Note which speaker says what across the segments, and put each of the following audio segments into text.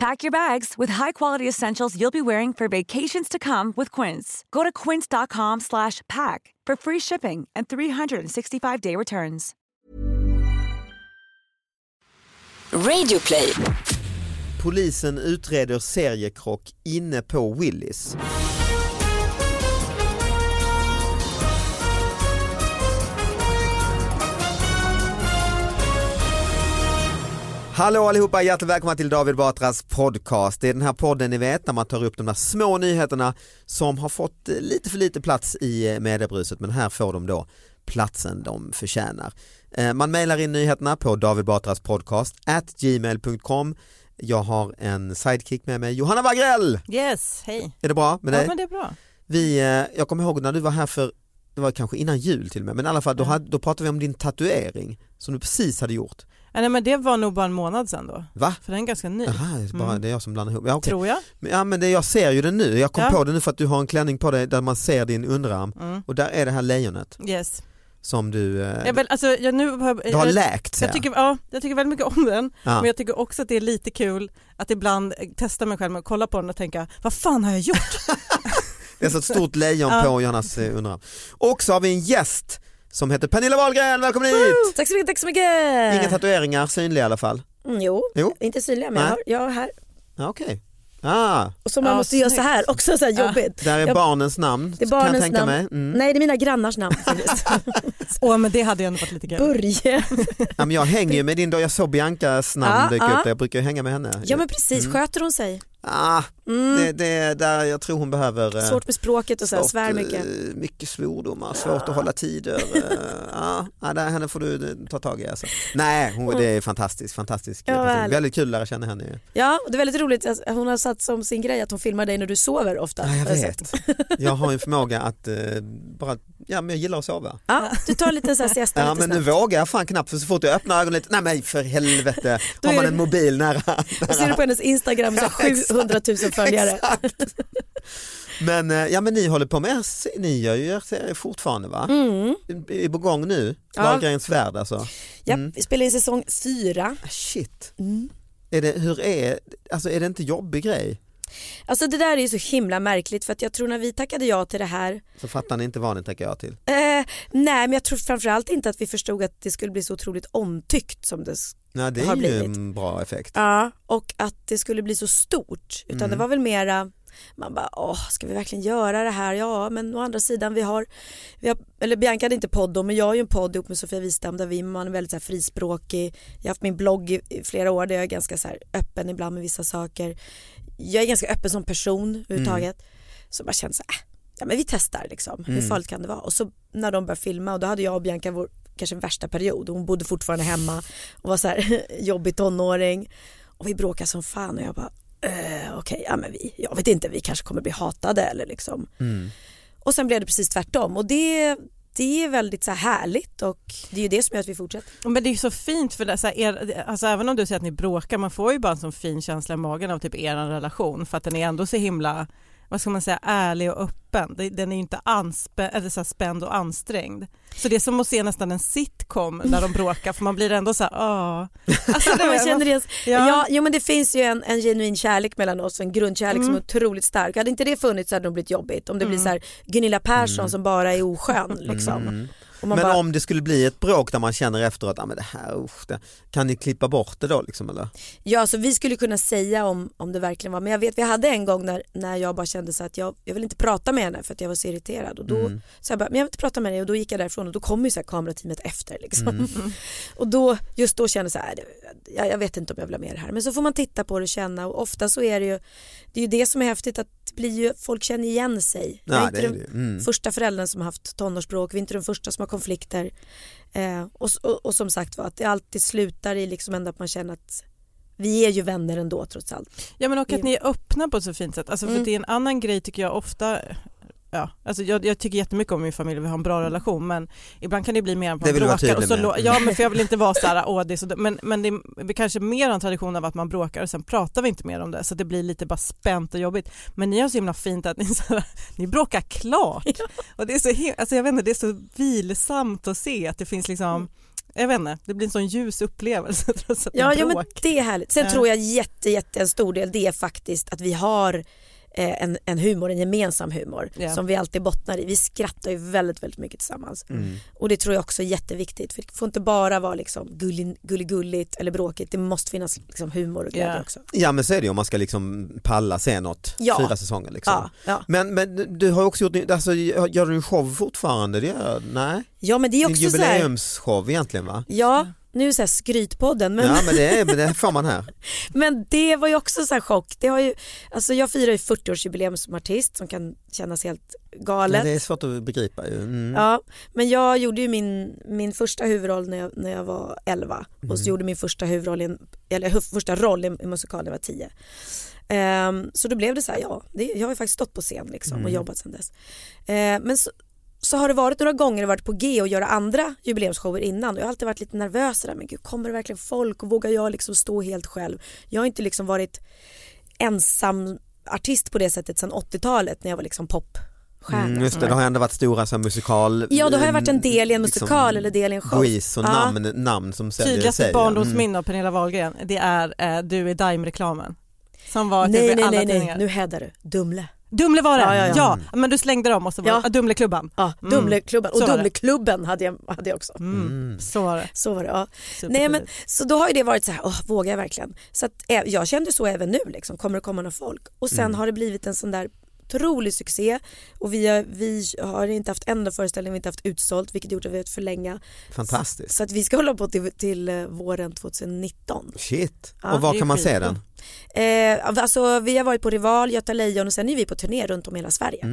Speaker 1: Pack your bags with high-quality essentials you'll be wearing for vacations to come with Quince. Go to quince.com/pack slash pack for free shipping and 365-day returns.
Speaker 2: Radio play.
Speaker 3: Polisen utreder seriekrock inne på Willys. Hallå allihopa, hjärtligt välkomna till David Batras podcast. Det är den här podden ni vet när man tar upp de där små nyheterna som har fått eh, lite för lite plats i eh, mediebruset men här får de då platsen de förtjänar. Eh, Man mejlar in nyheterna på David Batras podcast at gmail.com. Jag har en sidekick med mig, Johanna Wagrell!
Speaker 4: Yes, hej.
Speaker 3: Är det bra med dig?
Speaker 4: Ja men det är bra.
Speaker 3: Vi, eh, jag kommer ihåg när du var här för, det var kanske innan jul till och med, men i alla
Speaker 4: Mm.
Speaker 3: fall då, hade, då pratade vi om din tatuering som du precis hade gjort.
Speaker 4: Ja, nej men det var nog bara en månad sedan då,
Speaker 3: Va?
Speaker 4: för den är ganska ny.
Speaker 3: Aha, det är bara,
Speaker 4: Mm.
Speaker 3: det är jag som blandar ihop. Ja, okej.
Speaker 4: Tror jag.
Speaker 3: Men, ja, men det, jag ser ju den nu, jag kom
Speaker 4: Ja.
Speaker 3: på det nu för att du har en klänning på dig där man ser din underarm
Speaker 4: Mm.
Speaker 3: och där är det här lejonet
Speaker 4: Yes.
Speaker 3: som du, eh,
Speaker 4: Ja, men, alltså, jag, nu har,
Speaker 3: du har
Speaker 4: jag,
Speaker 3: läkt ser
Speaker 4: jag, tycker, ja, jag tycker väldigt mycket om den,
Speaker 3: ja.
Speaker 4: men jag tycker också att det är lite kul att ibland eh, testa mig själv med att kolla på den och tänka, vad fan har jag gjort?
Speaker 3: Det är så ett stort lejon
Speaker 4: Ja.
Speaker 3: på Johannas eh, underarm. Och så har vi en gäst som heter Pernilla Wahlgren, välkommen hit!
Speaker 5: Tack så mycket, tack så mycket.
Speaker 3: Inga tatueringar synliga i alla fall.
Speaker 5: Mm, jo,
Speaker 3: Jo.
Speaker 5: inte synliga men
Speaker 3: Nej.
Speaker 5: jag har, jag har här.
Speaker 3: Ja, okej. Ah,
Speaker 5: Och så man
Speaker 4: Ja,
Speaker 5: måste göra så
Speaker 4: snyggt.
Speaker 5: här också, så här
Speaker 4: Ja.
Speaker 5: jobbigt.
Speaker 3: där är
Speaker 5: Jag-
Speaker 3: barnens namn
Speaker 5: Det är
Speaker 3: kan jag
Speaker 5: barnens
Speaker 3: tänka
Speaker 5: namn.
Speaker 3: mig. Mm.
Speaker 5: Nej det är mina grannars namn faktiskt.
Speaker 4: Åh men det hade ju ändå varit lite kul.
Speaker 5: Börje.
Speaker 3: Ja, men jag hänger ju med din då, jag såg Biancas namn
Speaker 5: Ja,
Speaker 3: dyka
Speaker 5: ja.
Speaker 3: upp, jag brukar ju hänga med henne.
Speaker 5: Ja men
Speaker 3: Mm.
Speaker 5: precis, sköter hon sig?
Speaker 3: ah,
Speaker 5: Mm.
Speaker 3: det, det, där jag tror hon behöver eh,
Speaker 5: Svårt med språket och så här,
Speaker 3: svårt,
Speaker 5: svär mycket.
Speaker 3: eh, mycket svordomar, svårt att hålla tider. eh, ja, ja, där, henne får du eh, ta tag i. Alltså. Nej, hon, det är fantastiskt, fantastisk
Speaker 5: Mm. Ja,
Speaker 3: eh, person.
Speaker 5: väl.
Speaker 3: Väldigt kul att lära känna henne. ju.
Speaker 5: Ja, och det är väldigt roligt, att hon har satt som sin grej att hon filmar dig när du sover ofta.
Speaker 3: Ja, jag
Speaker 5: har sett.
Speaker 3: vet. Jag har ju en förmåga att eh, bara, ja men jag gillar att sova.
Speaker 5: Ja, du tar en liten så här siesta
Speaker 3: Ja
Speaker 5: lite
Speaker 3: men nu
Speaker 5: snabbt.
Speaker 3: vågar jag fan knappt för så fort jag öppnar ögonen lite, nej men för helvete,
Speaker 5: Då
Speaker 3: har
Speaker 5: är
Speaker 3: man
Speaker 5: det-
Speaker 3: en mobil nära.
Speaker 5: Och ser du på hennes Instagram så här, 700 000 följare.
Speaker 3: Exakt. Men, eh, ja, men ni håller på med, er se- ni gör ju er serie fortfarande va?
Speaker 5: Mm.
Speaker 3: I- Är på gång nu,
Speaker 5: Ja.
Speaker 3: Wahlgrens värld alltså.
Speaker 5: Ja,
Speaker 3: Mm.
Speaker 5: vi spelar in säsong fyra.
Speaker 3: Ah, Shit,
Speaker 5: Mm.
Speaker 3: är det, hur är, alltså, är det inte jobbig grej?
Speaker 5: Alltså det där är ju så himla märkligt för att jag tror när vi tackade ja till det här
Speaker 3: Så fattar ni inte vad ni tackar jag till.
Speaker 5: Eh, nej men jag tror framförallt inte att vi förstod att det skulle bli så otroligt omtyckt som det s-
Speaker 3: Nej, det
Speaker 5: Har
Speaker 3: är ju
Speaker 5: blivit.
Speaker 3: en bra effekt.
Speaker 5: ja. och att det skulle bli så stort utan
Speaker 3: Mm.
Speaker 5: det var väl mera man bara, åh, ska vi verkligen göra det här? Ja, men å andra sidan, vi har, vi har eller Bianca hade inte podd då, men jag har ju en podd ihop med Sofia Wistam där vi, man är väldigt så här frispråkig. Jag har haft min blogg i, i flera år där jag är ganska så här öppen ibland med vissa saker. Jag är ganska öppen som person överhuvudtaget. Så man känner så här, äh, ja men vi testar liksom, hur
Speaker 3: Mm.
Speaker 5: farligt kan det vara? Och så när de började filma och då hade jag och Bianca vår kanske värsta period. Hon bodde fortfarande hemma och var så här jobbig tonåring. Och vi bråkade som fan och jag bara, eh, okej, ja men vi, jag vet inte, vi kanske kommer bli hatade eller liksom.
Speaker 3: Mm.
Speaker 5: Och sen blev det precis tvärtom och det, det är väldigt så här härligt och det är ju det som gör att vi fortsätter.
Speaker 4: Men det är ju så fint för det, så här, er, alltså, även om du säger att ni bråkar, man får ju bara en sån fin känsla i magen av typ er relation för att den är ändå så himla, vad ska man säga, ärlig och öppen. Det- Den är ju inte anspä- eller så här spänd och ansträngd. Så det är som att se nästan en sitcom där de bråkar för man blir ändå så här, åh. Alltså, det
Speaker 5: man
Speaker 4: var-
Speaker 5: känner igen.
Speaker 4: Ja.
Speaker 5: Ja. jo men det finns ju en, en genuin kärlek mellan oss, en grundkärlek som är otroligt stark. Hade inte det funnits så hade det nog blivit jobbigt. Om det blir så här Gunilla Persson som bara är oskön liksom. Och man
Speaker 3: Men
Speaker 5: bara,
Speaker 3: om det skulle bli ett bråk där man känner efteråt, ah, men det här, usch, det, kan ni klippa bort det då liksom eller?
Speaker 5: Ja så vi skulle kunna säga om, om det verkligen var, men jag vet vi hade en gång när, när jag bara kände så att jag, jag vill inte prata med henne för att jag var så irriterad. Och då,
Speaker 3: Mm.
Speaker 5: så jag bara, men jag vill inte prata med dig och då gick jag därifrån och då kom ju så här kamerateamet efter liksom.
Speaker 3: Mm.
Speaker 5: Och då, just då kände jag så här, "Äh, "Det- jag, jag vet inte om jag vill ha med det här. Men så får man titta på det och känna och ofta så är det ju, det är ju det som är häftigt att det blir ju, folk känner igen sig. Jag
Speaker 3: Ja,
Speaker 5: inte
Speaker 3: det är
Speaker 5: den
Speaker 3: det ju. Mm.
Speaker 5: första föräldern som har haft tonårsbråk, vi är inte den första som har konflikter. Eh, och, s- och, och som sagt var att det alltid slutar i liksom ändå att man känner att vi är ju vänner ändå trots allt.
Speaker 4: Ja men och att ni är öppna på ett så fint sätt. Alltså, för
Speaker 3: Mm.
Speaker 4: det är en annan grej tycker jag ofta Ja, alltså jag, jag tycker jättemycket om min familj vi har en bra relation men ibland kan det bli mer att
Speaker 3: Mm. Det
Speaker 4: man
Speaker 3: vill du vara
Speaker 4: bråkar och
Speaker 3: tydlig
Speaker 4: så
Speaker 3: med.
Speaker 4: lå- Ja men för jag vill inte vara såhär, åh det är så dumt." men, men det är kanske mer en tradition av att man bråkar och sen pratar vi inte mer om det så det blir lite bara spänt och jobbigt. Men ni har så himla fint att ni, så här, ni bråkar klart och det är så him- alltså jag vet inte, det är så vilsamt att se att det finns
Speaker 3: Mm.
Speaker 4: liksom, jag vet inte, det blir en sån ljus upplevelse trots att
Speaker 5: Ja,
Speaker 4: ni
Speaker 5: ja men
Speaker 4: bråkar.
Speaker 5: det är härligt. Sen
Speaker 4: Ja.
Speaker 5: tror jag jätte, jätte en stor del det är faktiskt att vi har eh, en, en humor, en gemensam humor
Speaker 4: Ja.
Speaker 5: som vi alltid bottnar i. Vi skrattar ju väldigt, väldigt mycket tillsammans. Och det tror jag också är jätteviktigt. För det får inte bara vara liksom gullig- gulligulligt eller bråkigt. Det måste finnas liksom humor och glädje
Speaker 4: Ja.
Speaker 5: också.
Speaker 3: Ja men så är det ju om man ska liksom palla se något,
Speaker 5: Ja.
Speaker 3: fyra säsonger liksom.
Speaker 5: Ja, ja.
Speaker 3: Men, men du har ju också gjort, alltså, gör du en show fortfarande? Det gör, nej?
Speaker 5: Ja men det är
Speaker 3: Din
Speaker 5: också så här,
Speaker 3: jubileumsshow egentligen va?
Speaker 5: ja nu är det så här skrytpodden men
Speaker 3: Ja men det, är, men det får man här.
Speaker 5: Men det var ju också så här chock. Det har ju, alltså jag firar ju 40-årsjubileum som artist som kan kännas helt galet.
Speaker 3: Men det är svårt att begripa ju. Mm.
Speaker 5: Ja, men jag gjorde ju min, min första huvudroll när jag, när jag var 11 och
Speaker 3: Mm.
Speaker 5: så gjorde min första huvudroll i en, eller hu- första roll i en i en musikal när jag var 10. Ehm, så då blev det så här, ja, det, jag har ju faktiskt stått på scen liksom
Speaker 3: Mm.
Speaker 5: och jobbat sedan dess. Ehm, men så, så har det varit några gånger det varit på G att göra andra jubileumsshower innan och jag har alltid varit lite nervös där, men gud kommer det verkligen folk och vågar jag liksom stå helt själv? Jag har inte liksom varit ensam artist på det sättet sedan 80-talet när jag var liksom popstjärna.
Speaker 3: Mm, just det, det har ändå varit stora så här, musikal...
Speaker 5: Ja då har jag varit en del i en
Speaker 3: liksom,
Speaker 5: musikal eller del i en show.
Speaker 3: Quiz och
Speaker 5: Ja.
Speaker 3: namn, namn som säljer
Speaker 4: Tydligaste
Speaker 3: sig. Mm,
Speaker 4: barndomsminne av Pernilla Wahlgren det är eh, Du är Daim-reklamen som var typ
Speaker 5: Nej
Speaker 4: i
Speaker 5: nej
Speaker 4: alla
Speaker 5: nej, nej.
Speaker 4: tidningar.
Speaker 5: nu hädar du. Dumle.
Speaker 4: Dumle var det, ja,
Speaker 5: Ja, ja, ja.
Speaker 4: men du slängde dem och så var
Speaker 5: Ja.
Speaker 4: ja. Dumleklubban.
Speaker 5: Ja, Dumleklubben och
Speaker 4: Mm. Så var det.
Speaker 5: Dumleklubben hade jag, hade jag också.
Speaker 4: Mm. Så var det.
Speaker 5: Så var det ja. Nej,
Speaker 4: Supertidigt.
Speaker 5: men, så då har ju det varit så här, åh, vågar jag verkligen? Så att, eh, jag kände så även nu, liksom, kommer det komma några folk? Och sen
Speaker 4: Mm.
Speaker 5: har det blivit en sån där otrolig succé och vi har, vi har inte haft en enda föreställning vi inte haft utsålt vilket gjort att vi har fått förlänga.
Speaker 3: Fantastiskt.
Speaker 5: Så att vi ska hålla på till, till eh, våren 2019.
Speaker 3: Shit,
Speaker 5: Ja,
Speaker 3: och var
Speaker 4: det är
Speaker 3: kan man se
Speaker 4: skitbra.
Speaker 3: den?
Speaker 5: Eh, alltså, vi har varit på Rival, Göta Lejon och sen är vi på turné runt om i hela Sverige.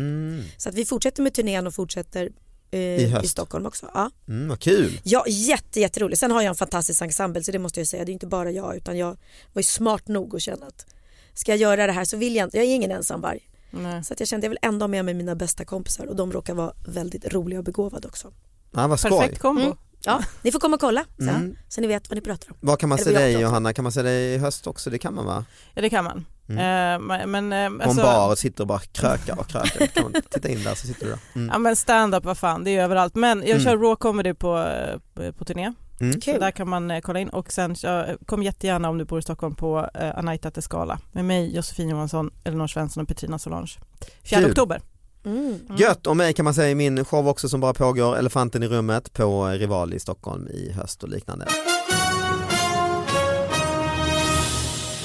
Speaker 5: Så att vi fortsätter med turnén och fortsätter eh, i,
Speaker 3: höst.
Speaker 5: Stockholm också. Ja.
Speaker 3: Mm, vad kul.
Speaker 5: Ja, jätte, jätteroligt. Sen har jag en fantastisk ensemble så det måste jag ju säga. Det är inte bara jag utan jag var ju smart nog att känna att ska jag göra det här så vill jag inte, jag är ingen ensamvarg.
Speaker 4: Nej.
Speaker 5: Så att jag kände jag vill ändå ha med mig mina bästa kompisar och de råkar vara väldigt roliga och begåvade också.
Speaker 3: Ja, vad skoj.
Speaker 4: Perfekt kombo.
Speaker 5: Mm. Ja, ni får komma och kolla sen, så ni vet vad ni pratar om.
Speaker 3: Var kan man
Speaker 5: Eller
Speaker 3: se
Speaker 5: vad jag
Speaker 3: dig
Speaker 5: pratar om.
Speaker 3: Johanna? Kan man se dig i höst också? Det kan man va?
Speaker 4: Ja det kan man. Eh, men, eh,
Speaker 3: På en
Speaker 4: alltså-
Speaker 3: Mm. bar och sitter och bara krökar och krökar. Kan man titta in där så sitter du där. Mm.
Speaker 4: Ja men stand-up vad fan, det är ju överallt. Men jag kör raw comedy på, eh, på turné.
Speaker 3: Mm.
Speaker 4: Så där kan man eh, kolla in och sen kör, kom jättegärna om du bor i Stockholm på eh, Anaita Tescala med mig, Josefin Johansson, Elinor Svensson och Petrina Solange. 4
Speaker 3: Kul.
Speaker 4: oktober. Mm.
Speaker 3: Gött, och mig kan man säga i min show också som bara pågår, Elefanten i rummet på Rival i Stockholm i höst och liknande.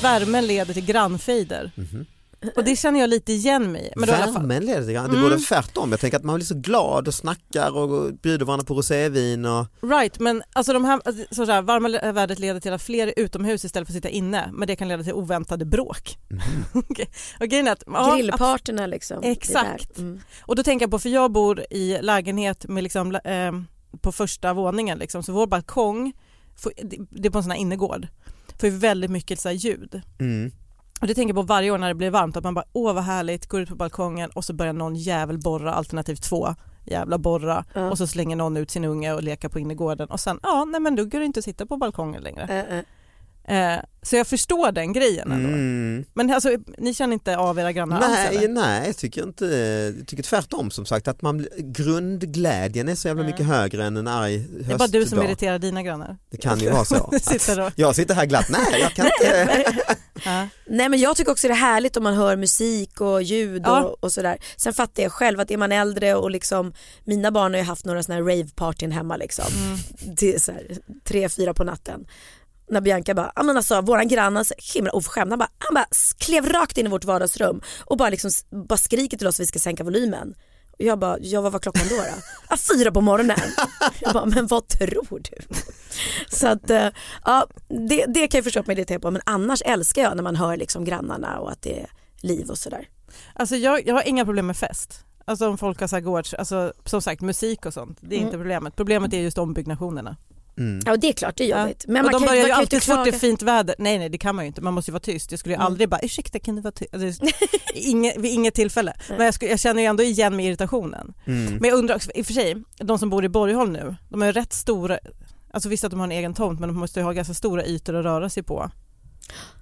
Speaker 4: Värmen leder till grannfejder. Och det känner jag lite igen mig i. Men då i alla fall,
Speaker 3: Värmen leder till grann. Det
Speaker 4: Mm.
Speaker 3: borde vara tvärtom. Jag tänker att man blir så glad och snackar och bjuder varandra på rosévin och
Speaker 4: Right, men alltså de här, alltså så här, varma le- vädret leder till att fler är utomhus istället för att sitta inne, men det kan leda till oväntade bråk. Okej, Och grejen är att, ja,
Speaker 5: Grillparterna liksom. det
Speaker 4: Exakt.
Speaker 5: där. Mm.
Speaker 4: Och då tänker jag på, för jag bor i lägenhet med liksom, eh, på första våningen liksom, så vår balkong, får, det- det är på en sån här innergård, får ju väldigt mycket så här ljud.
Speaker 3: mm.
Speaker 4: Och det tänker jag på varje år när det blir varmt, att man bara åh vad härligt, går ut på balkongen och så börjar någon jävel borra, alternativ två, jävla borra
Speaker 5: Ja.
Speaker 4: och så slänger någon ut sin unge och leker på innergården och sen ja, nej men då går det inte att sitta på balkongen längre.
Speaker 5: Eh, eh.
Speaker 4: Eh, så jag förstår den grejen ändå.
Speaker 3: Mm.
Speaker 4: Men alltså, ni känner inte av era grannar alls
Speaker 3: Nej,
Speaker 4: eller?
Speaker 3: nej, jag tycker inte, jag tycker tvärtom som sagt att man, blir- grundglädjen är så jävla mycket högre än en arg höstdag.
Speaker 4: Mm. Det är bara du som irriterar dina grannar.
Speaker 3: Det kan ju vara så.
Speaker 4: Du sitter och-
Speaker 3: Jag sitter här glatt, nej jag kan inte.
Speaker 4: Ja.
Speaker 5: Nej men jag tycker också det är härligt om man hör musik och ljud
Speaker 4: Ja.
Speaker 5: och, och sådär. Sen fattar jag själv att är man äldre och liksom, mina barn har ju haft några sådana här ravepartyn hemma liksom. Till så här, tre, fyra på natten. När Bianca bara, ja men alltså våran granne, han är så himla oförskämd, han bara, han bara klev rakt in i vårt vardagsrum och bara, liksom, bara skriker till oss att vi ska sänka volymen. Och jag bara, ja vad var klockan då? då? Ah, fyra på morgonen. Jag bara, men vad tror du? Så att, eh, ja, det, det kan jag förstå att man irriterar på men annars älskar jag när man hör liksom grannarna och att det är liv och sådär.
Speaker 4: Alltså jag, jag har inga problem med fest. Alltså om folk har så här gårds, alltså som sagt musik och sånt, det är inte problemet. Problemet är just ombyggnationerna.
Speaker 3: Mm.
Speaker 5: Ja och det är klart det är jobbigt. Men
Speaker 4: och
Speaker 5: man
Speaker 4: de
Speaker 5: kan,
Speaker 4: börjar
Speaker 5: ju- man
Speaker 4: ju
Speaker 5: kan ju
Speaker 4: alltid
Speaker 5: inte
Speaker 4: så fort det
Speaker 5: klaga.
Speaker 4: är fint väder, nej nej det kan man ju inte, man måste ju vara tyst. Jag skulle ju
Speaker 5: Mm.
Speaker 4: aldrig bara ursäkta kan du vara tyst, alltså, inget, vid inget tillfälle. Men jag, skulle, jag känner ju ändå igen mig i irritationen.
Speaker 3: Mm.
Speaker 4: Men jag undrar också, i och för sig, de som bor i Borgholm nu, de har ju rätt stora, alltså visst att de har en egen tomt men de måste ju ha ganska stora ytor att röra sig på.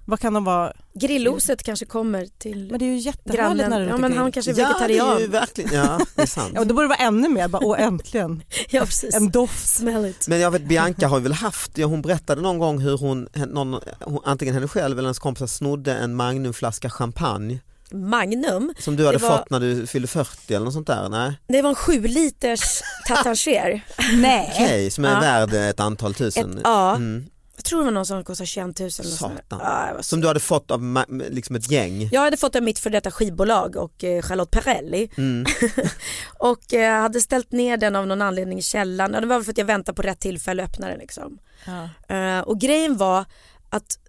Speaker 4: Vad kan de vara?
Speaker 5: Grilloset kanske kommer till
Speaker 4: Men det är ju jättehärligt när
Speaker 5: grannen.
Speaker 4: det är
Speaker 5: Ja
Speaker 4: runt
Speaker 5: men
Speaker 4: omkring.
Speaker 5: han kanske är
Speaker 3: Ja det är ju
Speaker 5: vegetarian.
Speaker 3: verkligen, ja det är sant.
Speaker 4: Ja, och då borde det vara ännu mer, bara, åh äntligen,
Speaker 5: Ja precis.
Speaker 4: en doft.
Speaker 5: Smell it.
Speaker 3: Men jag vet Bianca har ju väl haft, ja, hon berättade någon gång hur hon, någon, hon antingen henne själv eller hennes kompisar snodde en Magnumflaska champagne
Speaker 5: Magnum,
Speaker 3: som du hade
Speaker 5: var-
Speaker 3: fått när du fyllde 40 eller något sånt där. Nej,
Speaker 5: det var en 7 liters Tatanger.
Speaker 3: okej,
Speaker 4: Nej.
Speaker 3: som är
Speaker 5: Ja.
Speaker 3: värd ett antal tusen.
Speaker 5: Ett, ja,
Speaker 3: Mm.
Speaker 5: jag tror det var någon som kostade 21 000 eller något sånt där.
Speaker 3: Satan.
Speaker 5: ja, det var så-
Speaker 3: Som du hade fått av ma- liksom ett gäng.
Speaker 5: Jag hade fått av mitt för detta skivbolag och eh, Charlotte Perrelli
Speaker 3: Mm.
Speaker 5: och eh, hade ställt ner den av någon anledning i källaren. Ja, det var väl för att jag väntade på rätt tillfälle att öppna den liksom.
Speaker 4: Ja.
Speaker 5: Eh, och grejen var att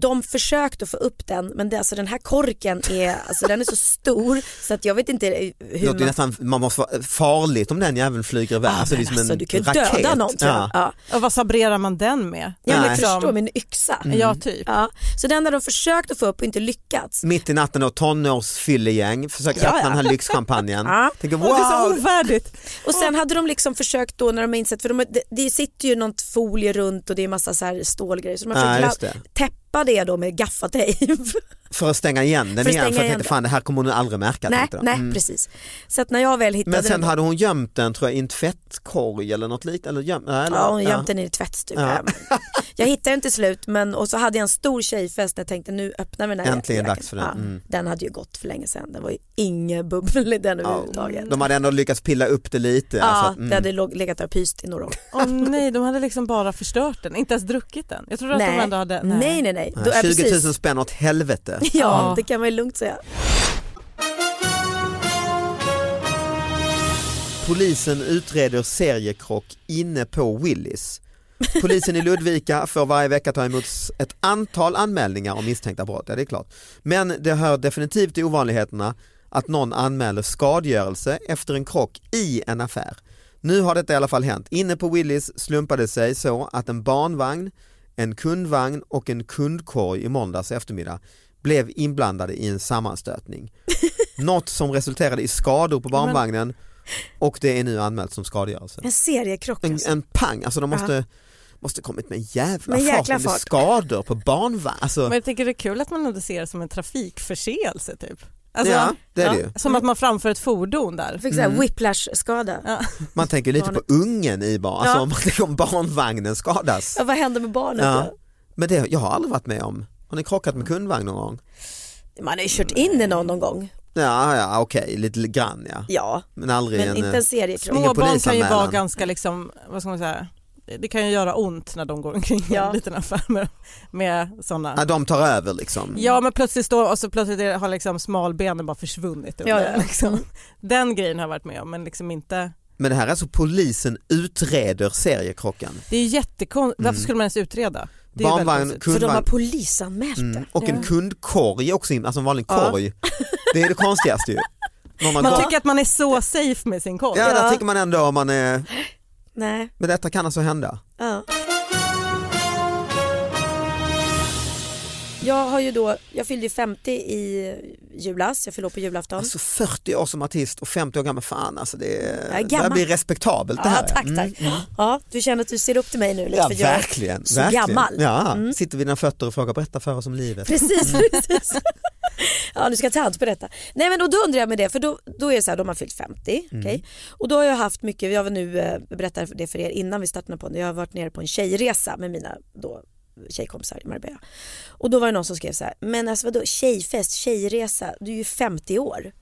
Speaker 5: de försökte få upp den men det, alltså den här korken är, alltså den är så stor så att jag vet inte eh,
Speaker 3: Det
Speaker 5: hur
Speaker 3: låter ju
Speaker 5: man...
Speaker 3: nästan man måste vara farligt om den jäveln flyger iväg.
Speaker 5: Ah,
Speaker 3: alltså, det är
Speaker 5: men
Speaker 3: som
Speaker 5: alltså,
Speaker 3: en
Speaker 5: du kan ju
Speaker 3: raket.
Speaker 5: döda någon tror jag.
Speaker 3: Ja.
Speaker 5: Ja.
Speaker 4: Och vad sabrerar man den med?
Speaker 5: Jag
Speaker 3: Nej. Mm.
Speaker 5: vill förstå med en yxa.
Speaker 4: Ja typ.
Speaker 5: Ja. Så den där de försökt att få upp och inte lyckats.
Speaker 3: Mitt i natten och tonårsfyllegäng försöker
Speaker 5: Ja,
Speaker 3: öppna
Speaker 5: ja.
Speaker 3: den här lyxchampagnen.
Speaker 5: Ja.
Speaker 3: Tänker
Speaker 4: Åh, det är så
Speaker 3: wow,
Speaker 4: ovärdigt.
Speaker 5: Och sen hade de liksom försökt då när de har insett, för de, har- det, det sitter ju någon folie runt och det är massa så här stålgrejer så de har
Speaker 3: Ja,
Speaker 5: försökt
Speaker 3: just
Speaker 5: la-
Speaker 3: det.
Speaker 5: täppa det då med gaffatejp.
Speaker 3: för att stänga igen den
Speaker 5: För att
Speaker 3: igen.
Speaker 5: stänga
Speaker 3: För jag
Speaker 5: igen
Speaker 3: tänkte
Speaker 5: den.
Speaker 3: fan det här kommer hon aldrig märka.
Speaker 5: nej,
Speaker 3: tänkte jag.
Speaker 5: nej
Speaker 3: Mm.
Speaker 5: precis. Så att när jag väl hittade
Speaker 3: Men sen
Speaker 5: den,
Speaker 3: hade hon gömt den tror jag i en tvättkorg eller något liknande. Eller göm, eller,
Speaker 5: ja, hon gömde den i tvättstugan.
Speaker 3: Ja.
Speaker 5: Jag hittade den till slut men, och så hade jag en stor tjejfest när jag tänkte nu öppnar vi den här
Speaker 3: Äntligen
Speaker 5: jäkeln.
Speaker 3: dags för den.
Speaker 5: Ja,
Speaker 3: Mm.
Speaker 5: Den hade ju gått för länge sedan, det var ju inget bubbel i den överhuvudtaget.
Speaker 3: De hade ändå lyckats pilla upp det lite.
Speaker 5: Ja,
Speaker 3: alltså att,
Speaker 5: det hade låg- legat där och pyst i några år.
Speaker 4: Åh nej, de hade liksom bara förstört den, inte ens druckit den. Jag trodde att de ändå hade...
Speaker 5: nej, nej, nej. Då- ja,
Speaker 3: 20
Speaker 5: precis.
Speaker 3: 000 spänn åt helvete.
Speaker 5: Ja,
Speaker 4: Ja.
Speaker 5: det kan man ju lugnt säga.
Speaker 3: Polisen utreder seriekrock inne på Willys. Polisen i Ludvika får varje vecka ta emot ett antal anmälningar om misstänkta brott, ja det är klart. Men det hör definitivt till ovanligheterna att någon anmäler skadegörelse efter en krock i en affär. Nu har detta i alla fall hänt. Inne på Willys slumpade det sig så att en barnvagn, en kundvagn och en kundkorg i måndags eftermiddag blev inblandade i en sammanstötning. Något som resulterade i skador på barnvagnen och det är nu anmält som skadegörelse.
Speaker 5: En seriekrock
Speaker 3: En,
Speaker 5: alltså.
Speaker 3: en pang, alltså de måste, måste kommit med en jävla
Speaker 5: Med
Speaker 3: fart
Speaker 5: jäkla
Speaker 3: om det är
Speaker 5: fart.
Speaker 3: skador på barnvagn. Alltså,
Speaker 4: Men jag tänker det är kul att man ändå ser det som en trafikförseelse typ.
Speaker 3: Ja, det är det ju.
Speaker 4: Som att man framför ett fordon där.
Speaker 5: Jag fick
Speaker 3: Mm.
Speaker 5: såhär whiplash-skada.
Speaker 4: Ja.
Speaker 3: man tänker lite på
Speaker 5: barnet-
Speaker 3: ungen i barn, alltså
Speaker 5: Ja.
Speaker 3: om, man tänker om barnvagnen skadas.
Speaker 5: Ja, vad hände med barnet
Speaker 3: Ja.
Speaker 5: då?
Speaker 3: Men det jag har aldrig varit med om. Har ni krockat med kundvagn någon gång?
Speaker 5: Man har ju kört in i någon någon gång.
Speaker 3: Ja, ja okej, lite grann ja.
Speaker 5: Ja,
Speaker 3: Men aldrig
Speaker 5: men
Speaker 3: en...
Speaker 5: inte
Speaker 3: eh,
Speaker 5: en seriekrock.
Speaker 3: Ingen
Speaker 4: Små barn kan ju
Speaker 3: polisanmälan.
Speaker 4: vara ganska liksom, vad ska man säga, det kan ju göra ont när de går omkring i
Speaker 5: Ja.
Speaker 4: en liten affär med, med sådana.
Speaker 3: ja, de tar över liksom.
Speaker 4: Ja men plötsligt står och så plötsligt är- har liksom smalbenen bara försvunnit.
Speaker 5: Ja, ja.
Speaker 4: Liksom. Den grejen har jag varit med om men liksom inte
Speaker 3: Men det här är alltså polisen utreder seriekrocken.
Speaker 4: Det är jättekonstigt, varför skulle man ens utreda? Det är ju väldigt
Speaker 3: Mm. Barnvagn,
Speaker 4: konstigt.
Speaker 5: För de har
Speaker 3: kundvagn
Speaker 5: polisanmält det.
Speaker 3: mm. och en
Speaker 4: Ja.
Speaker 3: kundkorg också, in- alltså en vanlig
Speaker 5: Ja.
Speaker 3: korg. Det är det konstigaste ju. Någon har
Speaker 4: Man
Speaker 3: gått-
Speaker 4: tycker att man är så safe med sin korg.
Speaker 3: Ja, där
Speaker 5: Ja.
Speaker 3: tycker man ändå om man är,
Speaker 5: Nej,
Speaker 3: men detta
Speaker 5: Mm.
Speaker 3: kan alltså hända.
Speaker 5: ja. jag har ju då, jag fyllde ju 50 i julas, jag fyllde år på julafton.
Speaker 3: Alltså 40 år som artist och 50 år gammal, fan alltså det,
Speaker 5: Jag är
Speaker 3: är, det här
Speaker 5: gammal.
Speaker 3: blir respektabelt det
Speaker 5: ja,
Speaker 3: här.
Speaker 5: tack
Speaker 3: Mm.
Speaker 5: tack. Ja, du känner att du ser upp till mig nu lite
Speaker 3: Ja,
Speaker 5: för jag är
Speaker 3: verkligen.
Speaker 5: så
Speaker 3: verkligen.
Speaker 5: gammal. Mm.
Speaker 3: Ja, Sitter vid dina fötter och frågar berätta för oss om livet.
Speaker 5: Precis,
Speaker 3: Mm.
Speaker 5: precis. ja nu ska jag ta hand på detta. Nej men och då undrar jag med det för då, då är det så här, de har fyllt 50. Mm. Och då har jag haft mycket, jag var nu, eh, berättade det för er innan vi startade på jag har varit nere på en tjejresa med mina då tjejkompisar i Marbella. Och då var det någon som skrev så här, men alltså vadå tjejfest, tjejresa, du är ju 50 år.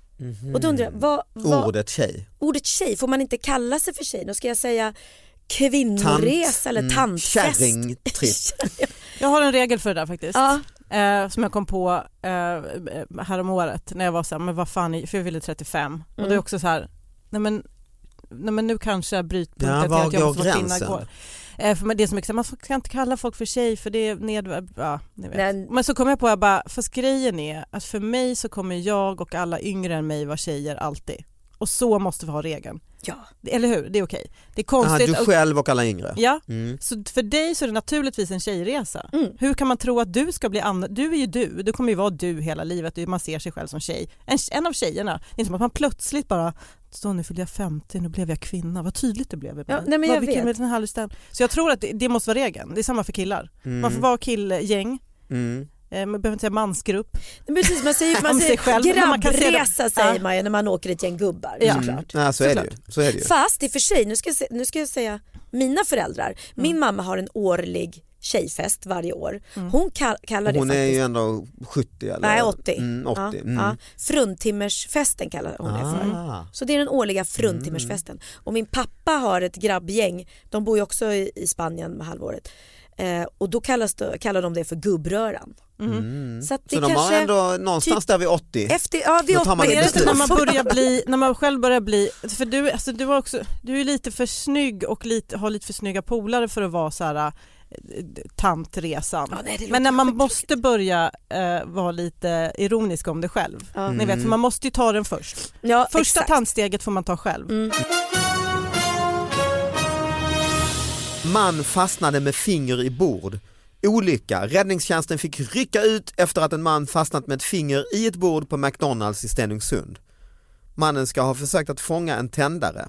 Speaker 5: Och då undrar jag, vad, vad,
Speaker 3: Mhm. Ordet tjej.
Speaker 5: ordet tjej, får man inte kalla sig för tjej? Då ska jag säga kvinnoresa eller
Speaker 3: mm,
Speaker 5: tantfest.
Speaker 3: Kärringtripp.
Speaker 4: Jag har en regel för det där faktiskt.
Speaker 5: ja,
Speaker 4: Eh, som jag kom på eh, häromåret när jag var så här, men vad fan, är- för jag ville 35 och
Speaker 5: Mm.
Speaker 4: det är också så här, nej men, nej men nu kanske brytpunkten
Speaker 3: Ja, var
Speaker 4: till att jag
Speaker 3: går
Speaker 4: måste vara kvinna
Speaker 3: gränsen?
Speaker 4: går. Eh, för men det är så mycket så här, man ska inte kalla folk för tjej för det är nedvärd, ja ni vet.
Speaker 5: Nej.
Speaker 4: Men så kom jag på, jag bara, fast grejen är att för mig så kommer jag och alla yngre än mig vara tjejer alltid. Och så måste vi ha regeln.
Speaker 5: ja.
Speaker 4: Eller hur? Det är okej. Det är
Speaker 3: Aha,
Speaker 4: konstigt.
Speaker 3: du
Speaker 4: och-
Speaker 3: själv och alla yngre.
Speaker 4: Ja,
Speaker 3: Mm.
Speaker 4: så för dig så är det naturligtvis en tjejresa.
Speaker 5: Mm.
Speaker 4: Hur kan man tro att du ska bli annorlunda? Du är ju du, du kommer ju vara du hela livet. Du- Man ser sig själv som tjej. En, en av tjejerna. Det är inte som att man plötsligt bara, så nu fyllde jag 50, nu blev jag kvinna. Vad tydligt det blev. i
Speaker 5: Ja,
Speaker 4: mig.
Speaker 5: nej, men
Speaker 4: Vad-
Speaker 5: jag
Speaker 4: vilken-
Speaker 5: vet.
Speaker 4: vilken härlig stäm- Så jag tror att det, det måste vara regeln. Det är samma för killar. Man får vara killgäng.
Speaker 3: Mm.
Speaker 4: Eh, Man behöver inte säga mansgrupp.
Speaker 5: Men Precis, man säger, man
Speaker 4: Om sig
Speaker 5: säger
Speaker 4: själv, men man kan se det.
Speaker 5: grabbresa säger
Speaker 4: Ja.
Speaker 5: man ju när man åker ett gäng gubbar.
Speaker 4: Ja.
Speaker 5: såklart.
Speaker 3: Ja, så, är det ju. så är det ju.
Speaker 5: Mm. Fast i och för sig, nu ska, jag, se- nu ska jag säga mina föräldrar. Min mamma har en årlig tjejfest varje år. Hon kall, kallar det
Speaker 3: Hon är ju
Speaker 5: faktiskt
Speaker 3: ändå 70 eller?
Speaker 5: Nej 80.
Speaker 3: Mm, 80.
Speaker 5: Ja,
Speaker 3: mm.
Speaker 5: ja. Fruntimmersfesten kallar hon det för.
Speaker 3: Ah.
Speaker 5: Så det är den årliga fruntimmersfesten. Och min pappa har ett grabbgäng, de bor ju också i i Spanien med halvåret. Eh, och då kallas det, kallar de det för gubbröran. Så, att det
Speaker 3: Så de har
Speaker 5: kanske, typ
Speaker 3: ändå någonstans där vid 80.
Speaker 5: efter, ja, vi
Speaker 3: Då tar man
Speaker 4: Men
Speaker 3: det
Speaker 4: är det inte när
Speaker 3: beslut.
Speaker 4: man
Speaker 5: Alltså,
Speaker 4: börjar bli, när man själv börjar bli, för du, alltså, du, har också, du är lite för snygg och lite, har lite för snygga polare för att vara så här eh, tantresan.
Speaker 5: Ja, nej, det låter
Speaker 4: Men när man
Speaker 5: sjukt
Speaker 4: måste börja eh, vara lite ironisk om det själv. Mm.
Speaker 3: Mm.
Speaker 4: Ni vet, för man måste ju ta den först.
Speaker 5: Ja,
Speaker 4: Första
Speaker 5: exakt. Mm.
Speaker 4: tantsteget får man ta själv.
Speaker 3: Man fastnade med finger i bord. Olycka. Räddningstjänsten fick rycka ut efter att en man fastnat med ett finger i ett bord på McDonalds i Stenungsund. Mannen ska ha försökt att fånga en tändare.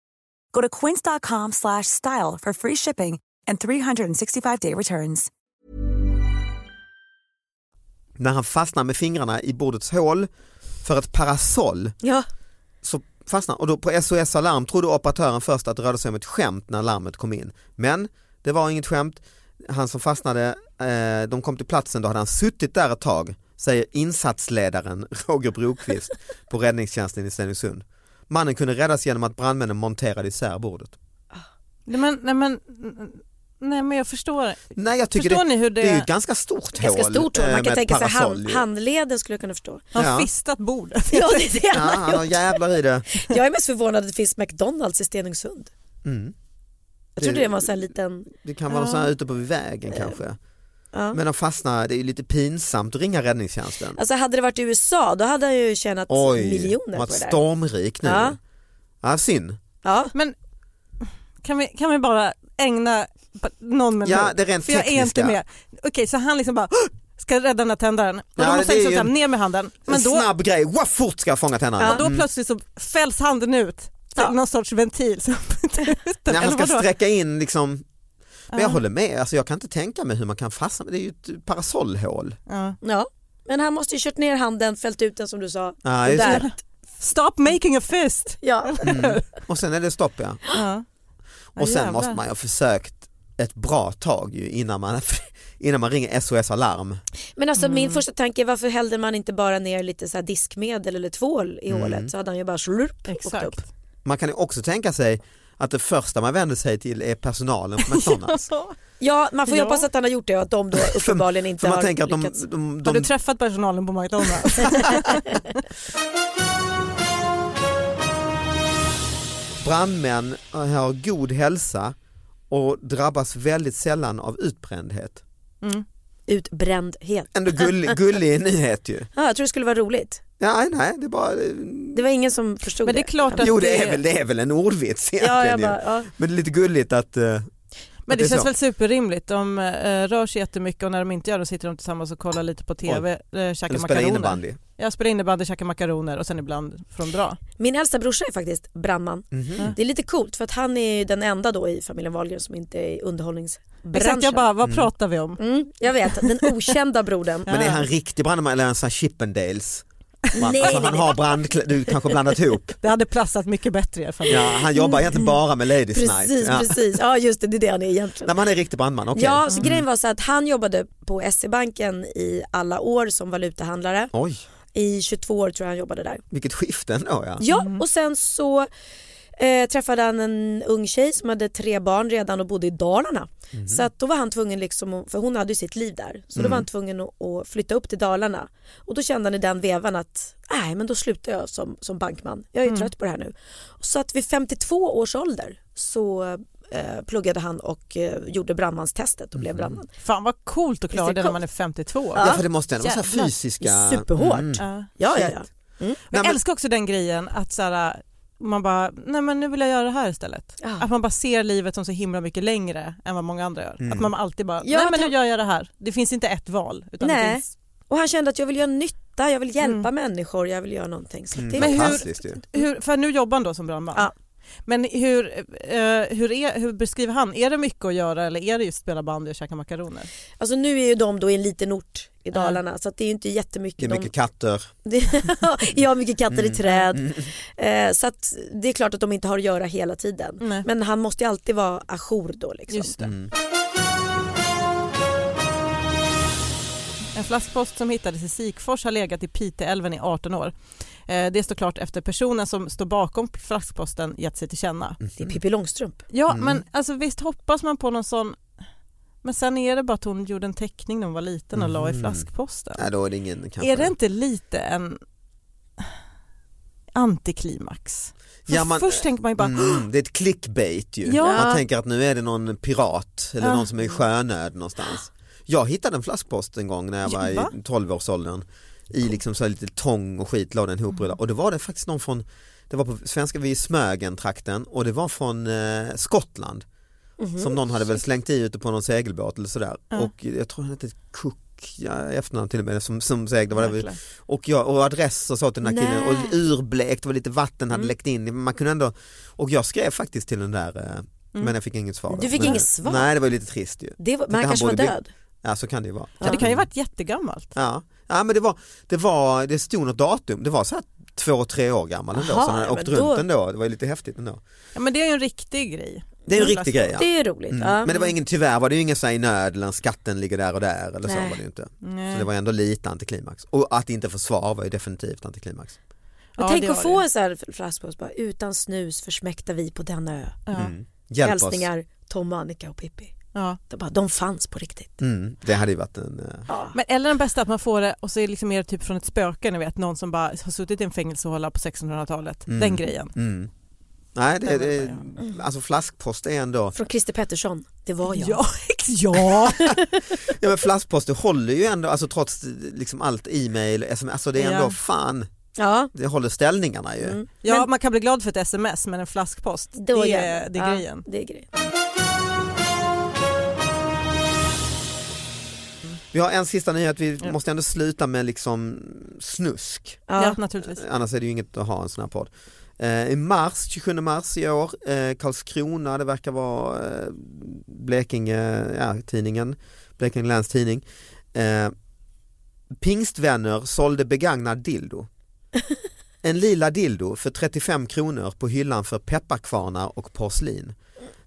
Speaker 1: Go to quince.com/style slash style for free shipping and 365-day returns.
Speaker 3: När han fastnar med fingrarna i bordets hål för ett parasoll
Speaker 5: Ja,
Speaker 3: så fastnar och då på SOS Alarm trodde operatören först att det rörde sig om ett skämt när larmet kom in. Men det var inget skämt. Han som fastnade, eh, de kom till platsen, då hade han suttit där ett tag, säger insatsledaren Roger Brokvist på räddningstjänsten i Stenungsund. Mannen kunde räddas genom att brandmännen monterade isär bordet.
Speaker 4: Nej, men, nej, men, nej men jag förstår.
Speaker 3: Nej jag tycker
Speaker 4: Förstår
Speaker 3: det,
Speaker 4: ni hur det-
Speaker 3: det är ju ett ganska stort hål.
Speaker 5: ganska stort hår.
Speaker 3: eh,
Speaker 5: Man
Speaker 3: med
Speaker 5: kan
Speaker 3: ett
Speaker 5: tänka sig
Speaker 3: parasoll
Speaker 5: hand,
Speaker 3: ju.
Speaker 5: handleden skulle jag kunna förstå.
Speaker 4: Han
Speaker 3: Ja.
Speaker 4: fistat bordet.
Speaker 5: Ja, det är det
Speaker 3: Ja,
Speaker 5: han har
Speaker 3: han har
Speaker 5: gjort.
Speaker 3: jävlar i det.
Speaker 5: Jag är mest förvånad att det finns McDonalds i Stenungsund.
Speaker 3: Mm.
Speaker 5: Jag trodde det var en sån här liten,
Speaker 3: Det kan vara någon sån här ute på vägen kanske.
Speaker 5: ja.
Speaker 3: Men de fastnar, det är ju lite pinsamt att ringa räddningstjänsten.
Speaker 5: alltså hade det varit i USA då hade han ju tjänat miljoner på
Speaker 3: varit
Speaker 5: det där.
Speaker 3: stormrik nu. Ja.
Speaker 5: Ja.
Speaker 3: synd.
Speaker 5: Ja.
Speaker 4: Men kan vi, kan vi bara ägna b- någon minut?
Speaker 3: Ja, det rent
Speaker 4: För jag är
Speaker 3: tekniska.
Speaker 4: inte med. Okej, så han liksom bara "Åh!" ska rädda den här tändaren och
Speaker 3: Ja,
Speaker 4: då
Speaker 3: det
Speaker 4: måste
Speaker 3: är
Speaker 4: han liksom
Speaker 3: ju
Speaker 4: så
Speaker 3: en-
Speaker 4: här, ner med handen. Men
Speaker 3: en
Speaker 4: då,
Speaker 3: snabb grej, wow, fort ska jag fånga tänderna. Mm.
Speaker 4: då plötsligt så fälls handen ut. Så
Speaker 5: Ja.
Speaker 4: Någon sorts ventil som
Speaker 3: När han
Speaker 4: eller
Speaker 3: ska
Speaker 4: vadå?
Speaker 3: sträcka in liksom, men jag håller med, alltså, jag kan inte tänka mig hur man kan fastna, det är ju ett parasollhål.
Speaker 4: Ja.
Speaker 5: Ja. Men han måste ju kört ner handen, fällt ut den som du sa.
Speaker 3: Ja,
Speaker 5: och
Speaker 3: just det.
Speaker 5: där.
Speaker 4: Stop making a fist!
Speaker 5: Ja.
Speaker 3: Mm. Och sen är det stopp ja.
Speaker 4: Ja. Ja,
Speaker 3: Och sen
Speaker 4: jävlar.
Speaker 3: måste man ju ha försökt ett bra tag ju innan man, innan man ringer SOS Alarm.
Speaker 5: Men alltså min första tanke är varför hällde man inte bara ner lite så här diskmedel eller tvål i
Speaker 3: Mm.
Speaker 5: hålet så hade han ju bara slurp åkt upp.
Speaker 4: Exakt.
Speaker 3: Man kan ju också tänka sig att det första man vänder sig till är personalen på McDonalds.
Speaker 5: Ja man får ju
Speaker 4: Ja.
Speaker 5: hoppas att han har gjort det och att de då uppenbarligen inte
Speaker 3: För man
Speaker 5: har
Speaker 3: tänker att de,
Speaker 5: lyckats.
Speaker 3: de,
Speaker 4: Har du
Speaker 3: de,
Speaker 4: träffat personalen på McDonalds?
Speaker 3: brandmän har god hälsa och drabbas väldigt sällan av utbrändhet.
Speaker 5: Utbrändhet.
Speaker 3: Ändå gull, gullig nyhet ju.
Speaker 5: Ja, jag tror det skulle vara roligt.
Speaker 3: Nej, nej, det är bara...
Speaker 5: Det var ingen som förstod
Speaker 4: Men det är klart att
Speaker 3: Jo, det är väl, det är väl en ordvits
Speaker 5: Ja,
Speaker 3: egentligen.
Speaker 5: jag
Speaker 3: ju.
Speaker 5: bara, ja.
Speaker 3: Men det är lite gulligt att... eh,
Speaker 4: Men
Speaker 3: att är
Speaker 4: det känns
Speaker 3: så.
Speaker 4: väl superrimligt. De eh, rör sig jättemycket och när de inte gör det sitter de tillsammans och kollar lite på TV, eh, käkar
Speaker 3: Eller spela
Speaker 4: makaroner.
Speaker 3: innebandy.
Speaker 4: Jag spelar innebandy, käkar makaroner och sen ibland från bra.
Speaker 5: Min äldsta brorsa är faktiskt brandman. Det är lite coolt för att han är ju den enda då i familjen Wahlgren som inte är i underhållningsbranschen.
Speaker 4: Exakt, jag bara, vad pratar vi om?
Speaker 5: mm, jag vet, den okända brodern.
Speaker 3: Men är han riktig brandman eller är han sån här Chippendales? Man,
Speaker 5: Nej,
Speaker 3: alltså,
Speaker 5: nej,
Speaker 3: han har brandkläder, du kanske har blandat ihop.
Speaker 4: Det hade platsat mycket bättre i alla fall.
Speaker 3: Ja, han jobbar egentligen bara med Ladies Night.
Speaker 5: Precis,
Speaker 3: Ja.
Speaker 5: precis. Ja just det, det är det han är egentligen.
Speaker 3: Nej, man är riktig brandman, okej.
Speaker 5: Ja, så grejen var så att han jobbade på SE-banken i alla år som valutahandlare.
Speaker 3: Oj,
Speaker 5: I 22 år tror jag han jobbade där.
Speaker 3: vilket skifte ändå ja.
Speaker 5: Ja,
Speaker 4: Mm.
Speaker 5: och sen så eh, träffade han en ung tjej som hade tre barn redan och bodde i Dalarna.
Speaker 4: Mm.
Speaker 5: Så att då var han tvungen, liksom, att- för hon hade ju sitt liv där, så då var han tvungen att, att flytta upp till Dalarna. Och då kände han i den vevan att, nej men då slutar jag som, som bankman, jag är ju
Speaker 4: Mm.
Speaker 5: trött på det här nu. Så att vid 52 års ålder så eh, pluggade han och eh, gjorde brandmanstestet och
Speaker 4: Mm.
Speaker 5: blev brandman.
Speaker 4: Fan vad coolt att klara
Speaker 5: Visst är
Speaker 4: det
Speaker 5: det
Speaker 4: när man är 52.
Speaker 3: Ja, för det måste ändå vara så här
Speaker 5: Jävlar.
Speaker 3: fysiska...
Speaker 5: Superhårt.
Speaker 3: Mm.
Speaker 4: Ja.
Speaker 5: Ja, ja, ja.
Speaker 3: Nej,
Speaker 4: Jag
Speaker 3: men-
Speaker 4: älskar också den grejen att så här, man bara, nej men nu vill jag göra det här istället. Att man bara ser livet som så himla mycket längre än vad många andra gör. Att
Speaker 3: Mm.
Speaker 4: man alltid bara,
Speaker 5: Ja,
Speaker 4: nej men
Speaker 5: ta-
Speaker 4: nu gör jag det här. Det finns inte ett val. Utan Det
Speaker 5: Nej.
Speaker 4: finns... Mm.
Speaker 5: Och han kände att jag vill göra nytta, jag vill hjälpa människor, jag vill göra någonting. Så det,
Speaker 3: Mm,
Speaker 4: Men hur-
Speaker 3: Fantastiskt ju.
Speaker 4: hur, för nu jobbar han då som brandman.
Speaker 5: Ja.
Speaker 4: Men hur, eh, hur, är, hur beskriver han, är det mycket att göra eller är det just spela bandy och käka makaroner?
Speaker 5: Alltså nu är ju de då i en liten ort i Dalarna så att det är ju inte jättemycket.
Speaker 3: Det är mycket katter.
Speaker 5: De, ja, mycket katter
Speaker 4: Mm.
Speaker 5: i träd. Eh, så att det är klart att de inte har att göra hela tiden.
Speaker 4: Nej.
Speaker 5: Men han måste ju alltid vara ajour då. Liksom.
Speaker 4: Just det. En flaskpost som hittades i Sikfors har legat i Piteälven i 18 år. Eh, Det står klart efter personen som står bakom flaskposten gett sig till känna.
Speaker 3: Mm.
Speaker 5: Det är Pippi Långstrump.
Speaker 4: Ja, men alltså, visst hoppas man på någon sån... Men sen är det bara att hon gjorde en teckning när hon var liten och la i flaskposten.
Speaker 3: Mm. Nej, då är det ingen kanske.
Speaker 4: Är det inte lite en antiklimax? För
Speaker 3: Ja, man-
Speaker 4: Först tänker man ju bara,
Speaker 3: Mm, det är ett clickbait ju.
Speaker 4: Ja.
Speaker 3: Man tänker att nu är det någon pirat eller
Speaker 4: Ja.
Speaker 3: någon som är i sjönöd någonstans. Jag hittade en flaskpost en gång när jag
Speaker 4: Ja,
Speaker 3: var
Speaker 4: va?
Speaker 3: i 12-årsåldern i liksom så här lite tång och skit la den
Speaker 4: Mm.
Speaker 3: ihoprullad och då var det faktiskt någon från, det var på svenska vid Smögen trakten och det var från eh, Skottland
Speaker 5: Mhm.
Speaker 3: som någon hade väl slängt i ute på någon segelbåt eller sådär och jag tror han hette Cook ja, i efternamn till och med som, som seglade var det,
Speaker 4: Jäklar.
Speaker 3: och, jag, och adress och så till den här killen
Speaker 5: Nej. Mm.
Speaker 3: och urblekt, det var lite vatten hade läckt in men man kunde ändå och jag skrev faktiskt till den där eh, men jag fick inget svar. då.
Speaker 5: Mm. Du fick
Speaker 3: men,
Speaker 5: inget svar?
Speaker 3: Nej det var ju lite trist ju.
Speaker 5: Det var,
Speaker 3: Tänkte
Speaker 5: men han kanske var
Speaker 3: borde bli-
Speaker 5: död.
Speaker 3: Ja så kan det ju vara.
Speaker 4: ja, det kan ju ha varit jättegammalt.
Speaker 3: Ja, ja men det var, det var, det stod något datum, det var så här två, tre år gammal ändå
Speaker 5: Jaha,
Speaker 3: så den
Speaker 5: ja,
Speaker 3: hade åkt
Speaker 5: men
Speaker 3: runt
Speaker 5: då-
Speaker 3: ändå, det var ju lite häftigt ändå.
Speaker 4: Ja, men det är ju en riktig grej.
Speaker 3: Det är ju en riktig grej ja.
Speaker 5: Det är roligt.
Speaker 3: Mm.
Speaker 5: Ja.
Speaker 3: Men det var ingen, tyvärr var det ju ingen så här i nöd eller skatten ligger där och där eller så
Speaker 5: Nej.
Speaker 3: var det ju inte.
Speaker 4: Nej.
Speaker 3: Så det var ändå lite antiklimax. Och att inte få svar var ju definitivt antiklimax.
Speaker 5: Men
Speaker 4: Ja,
Speaker 5: tänk
Speaker 4: det
Speaker 5: att
Speaker 4: var
Speaker 5: få
Speaker 4: det.
Speaker 5: en sån här flaskpost bara, utan snus försmäktar vi på denna ö.
Speaker 3: Hjälp oss.
Speaker 5: Hälsningar Tom, Annika och Pippi.
Speaker 4: Ja.
Speaker 5: De, bara, de fanns på riktigt.
Speaker 3: Mm, det hade ju varit en, eh,
Speaker 4: Men, eller den bästa att man får det och så är det liksom mer typ från ett spöke, ni vet någon som bara har suttit i en fängelsehåla på 1600-talet. Den grejen.
Speaker 3: mm. Nej, det, det, alltså flaskpost är ändå,
Speaker 5: Från Christer Pettersson, det var jag.
Speaker 4: Ja, ex- ja.
Speaker 3: ja men flaskpost det håller ju ändå, alltså trots eh, liksom allt e-mail, sms, alltså det är ändå
Speaker 4: Ja.
Speaker 3: fan,
Speaker 5: Ja.
Speaker 3: det håller ställningarna ju.
Speaker 4: ja man kan bli glad för ett sms men en flaskpost, det
Speaker 5: Då
Speaker 4: är,
Speaker 5: jävlar.
Speaker 4: det är
Speaker 5: ja,
Speaker 4: grejen.
Speaker 5: Det är grejen.
Speaker 3: Vi har en sista nyhet, vi måste ändå sluta med liksom snusk.
Speaker 4: Ja,
Speaker 5: Ja.
Speaker 4: naturligtvis.
Speaker 3: Annars är det ju inget att ha en sån här podd. Eh, I mars, 27 mars i år, eh, Karlskrona, det verkar vara eh, Blekinge, ja, tidningen, Blekinge Läns Tidning, eh, Pingstvänner sålde begagnad dildo. En lila dildo för 35 kronor på hyllan för pepparkvarnar och porslin.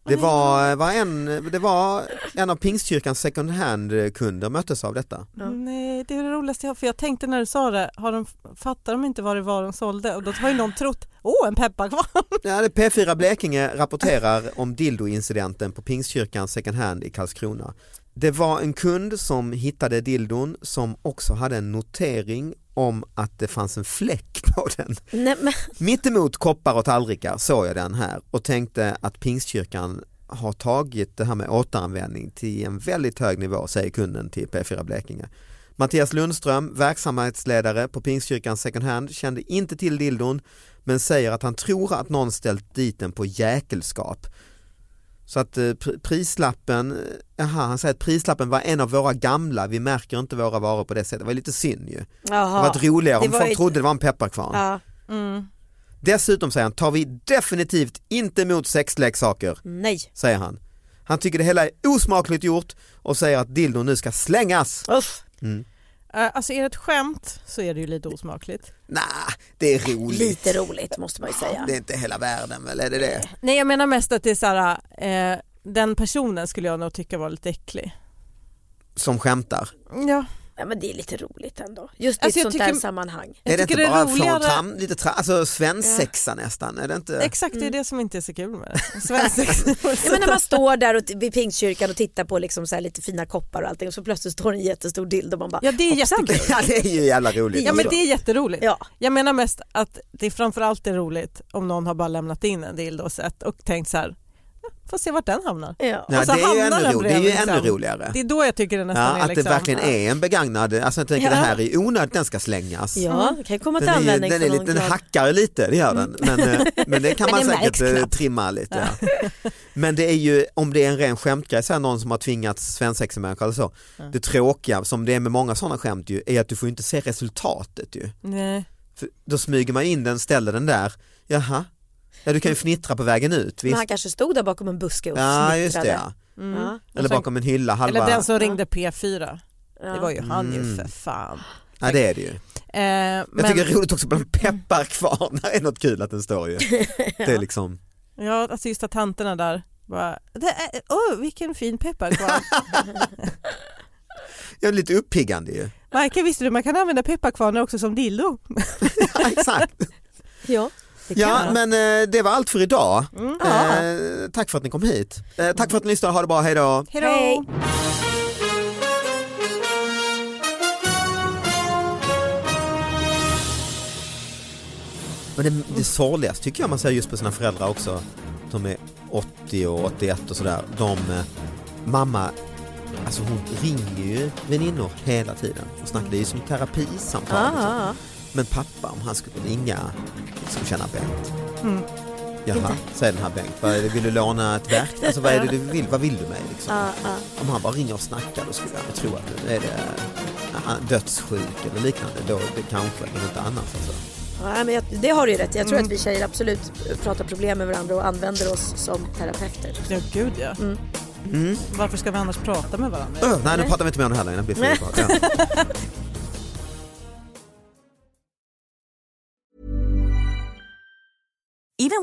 Speaker 3: Det var, var, en, det var en av Pingstkyrkans second hand kunder möttes av detta.
Speaker 5: Ja.
Speaker 4: Nej, det är det roligaste jag har, för jag tänkte när du sa det, har de, fattar de inte vad det var de sålde? Och då har ju någon trott, åh en pepparkvarn!
Speaker 3: Ja, det P4 Blekinge rapporterar om dildoincidenten på Pingstkyrkan second hand i Karlskrona. Det var en kund som hittade dildon som också hade en notering om att det fanns en fläck på den.
Speaker 5: Nej, men,
Speaker 3: Mittemot koppar och tallrikar såg jag den här och tänkte att Pingstkyrkan har tagit det här med återanvändning till en väldigt hög nivå säger kunden till P4 Blekinge. Mattias Lundström, verksamhetsledare på Pingstkyrkan second hand, kände inte till dildon men säger att han tror att någon ställt dit den på jäkelskap. Så att eh, pr- prislappen, eh, aha, han säger att prislappen var en av våra gamla, vi märker inte våra varor på det sättet. Det var lite synd ju. Det hade
Speaker 5: jaha.
Speaker 3: varit roligare
Speaker 5: Det
Speaker 3: om
Speaker 5: var
Speaker 3: folk
Speaker 5: ju-
Speaker 3: trodde det var en pepparkvarn.
Speaker 5: Ja.
Speaker 3: Dessutom säger han, tar vi definitivt inte emot sexleksaker,
Speaker 5: Nej.
Speaker 3: säger han. Han tycker det hela är osmakligt gjort och säger att dildon nu ska slängas.
Speaker 4: Uff.
Speaker 3: Mm.
Speaker 4: Eh, Alltså är det ett skämt så är det ju lite osmakligt.
Speaker 3: Nej, det är roligt.
Speaker 5: Lite roligt måste man ju säga.
Speaker 3: Det är inte hela världen väl, är det det?
Speaker 4: Nej jag menar mest att det är så här, eh, den personen skulle jag nog tycka var lite äcklig.
Speaker 3: Som skämtar.
Speaker 4: Ja.
Speaker 5: Ja, men det är lite roligt ändå. Just i
Speaker 4: Alltså,
Speaker 5: ett
Speaker 4: jag
Speaker 5: sånt
Speaker 4: tycker-
Speaker 5: där sammanhang.
Speaker 4: Jag
Speaker 3: är det
Speaker 4: tycker
Speaker 3: inte
Speaker 4: det är
Speaker 3: bara från
Speaker 4: roligare-
Speaker 3: tram, lite tra, alltså svensexa nästan? Är det inte?
Speaker 4: Exakt, det är det som inte är så kul med det. Svensex.
Speaker 5: Ja, men när man står där och t- vid pingstkyrkan och tittar på liksom så här lite fina koppar och allting och så plötsligt står en jättestor dildo och man bara
Speaker 4: Ja det är
Speaker 5: hoppsan.
Speaker 4: jättekul.
Speaker 3: ja, det är ju jävla roligt.
Speaker 4: Ja men det är jätteroligt.
Speaker 5: Ja.
Speaker 4: Jag menar mest att det är framförallt är roligt om någon har bara lämnat in en dildo och sett och tänkt så här, "Ja, får se vart den hamnar.
Speaker 5: Ja.
Speaker 3: Ja,
Speaker 4: Och så
Speaker 3: det är ju
Speaker 4: hamnar
Speaker 3: ännu,
Speaker 4: den
Speaker 3: ro, det är ju
Speaker 4: bredvid,
Speaker 3: ännu
Speaker 4: liksom.
Speaker 3: roligare.
Speaker 4: Det är då jag tycker det
Speaker 3: Ja,
Speaker 4: nästan är
Speaker 3: att det
Speaker 4: liksom,
Speaker 3: verkligen är en begagnad, alltså jag tänker
Speaker 5: Ja.
Speaker 3: det här är onödigt, den ska slängas.
Speaker 5: Ja, det kan ju komma till
Speaker 3: Den, är, ju-
Speaker 5: användning
Speaker 3: den, är
Speaker 5: för någon
Speaker 3: lite, den
Speaker 5: glad-
Speaker 3: hackar ju lite, det gör den. Men, eh, men det kan
Speaker 5: Men
Speaker 3: man
Speaker 5: det
Speaker 3: säkert
Speaker 5: märks
Speaker 3: eh,
Speaker 5: knappt.
Speaker 3: trimma lite. Ja. Men det är ju, om det är en ren skämtgrej, så här någon som har tvingats svensexemänniska eller så. Det tråkiga som det är med många sådana skämt ju, är att du får ju inte se resultatet ju.
Speaker 4: Nej.
Speaker 3: För då smyger man in den, ställer den där, jaha, ja du kan ju fnittra på vägen ut.
Speaker 5: Men
Speaker 3: Visst?
Speaker 5: han kanske stod där bakom en buske och
Speaker 3: Ja just
Speaker 5: fnittrade.
Speaker 3: det ja.
Speaker 5: Ja.
Speaker 3: Eller bakom en hylla, halva,
Speaker 4: Eller den som ringde P4. Det var ju han ju
Speaker 3: Mm.
Speaker 4: för fan.
Speaker 3: ja det är det ju.
Speaker 4: Eh, men,
Speaker 3: Jag tycker det är roligt också med en pepparkvarn, det är något kul att den står ju. Det är liksom,
Speaker 4: ja, alltså just att tanterna där bara, det är, oh, vilken fin pepparkvarn.
Speaker 3: ja, lite uppiggande ju.
Speaker 4: Marka, visste du man kan använda pepparkvarnar också som dildo?
Speaker 3: Ja, exakt.
Speaker 5: Ja, det kan
Speaker 3: Ja
Speaker 5: man.
Speaker 3: men eh, det var allt för idag.
Speaker 5: Ja.
Speaker 3: Eh, tack för att ni kom hit. Eh, tack för att ni lyssnade, ha det bra, hej då.
Speaker 4: Hejdå!
Speaker 5: Hej.
Speaker 3: Men det, det sorgligaste tycker jag man ser just på sina föräldrar också. De är 80 och 81 och sådär. De, eh, mamma, alltså hon ringer ju väninnor hela tiden och snackar. Det är ju som terapisamtal.
Speaker 5: Ja,
Speaker 3: liksom.
Speaker 5: ja,
Speaker 3: Men pappa om han skulle ringa, liksom känna Bengt. Jaha, säger den här Bengt. Vad är det, vill du låna ett verk? Alltså vad är det du vill? Vad vill du mig liksom?
Speaker 5: ja, ja.
Speaker 3: Om han bara ringer och snackar då skulle jag tro att nu är det eh, dödssjuk eller liknande. Då det kanske, men inte annars alltså.
Speaker 5: Ja, men jag, det har du ju rätt i. Jag tror att vi tjejer absolut pratar problem med varandra och använder oss som terapeuter.
Speaker 4: Ja, gud ja.
Speaker 3: Mm.
Speaker 4: Varför ska vi annars prata med varandra?
Speaker 3: Öh, nej, nu pratar vi inte mer om det här längre. Det blir fel. Ja.
Speaker 1: Even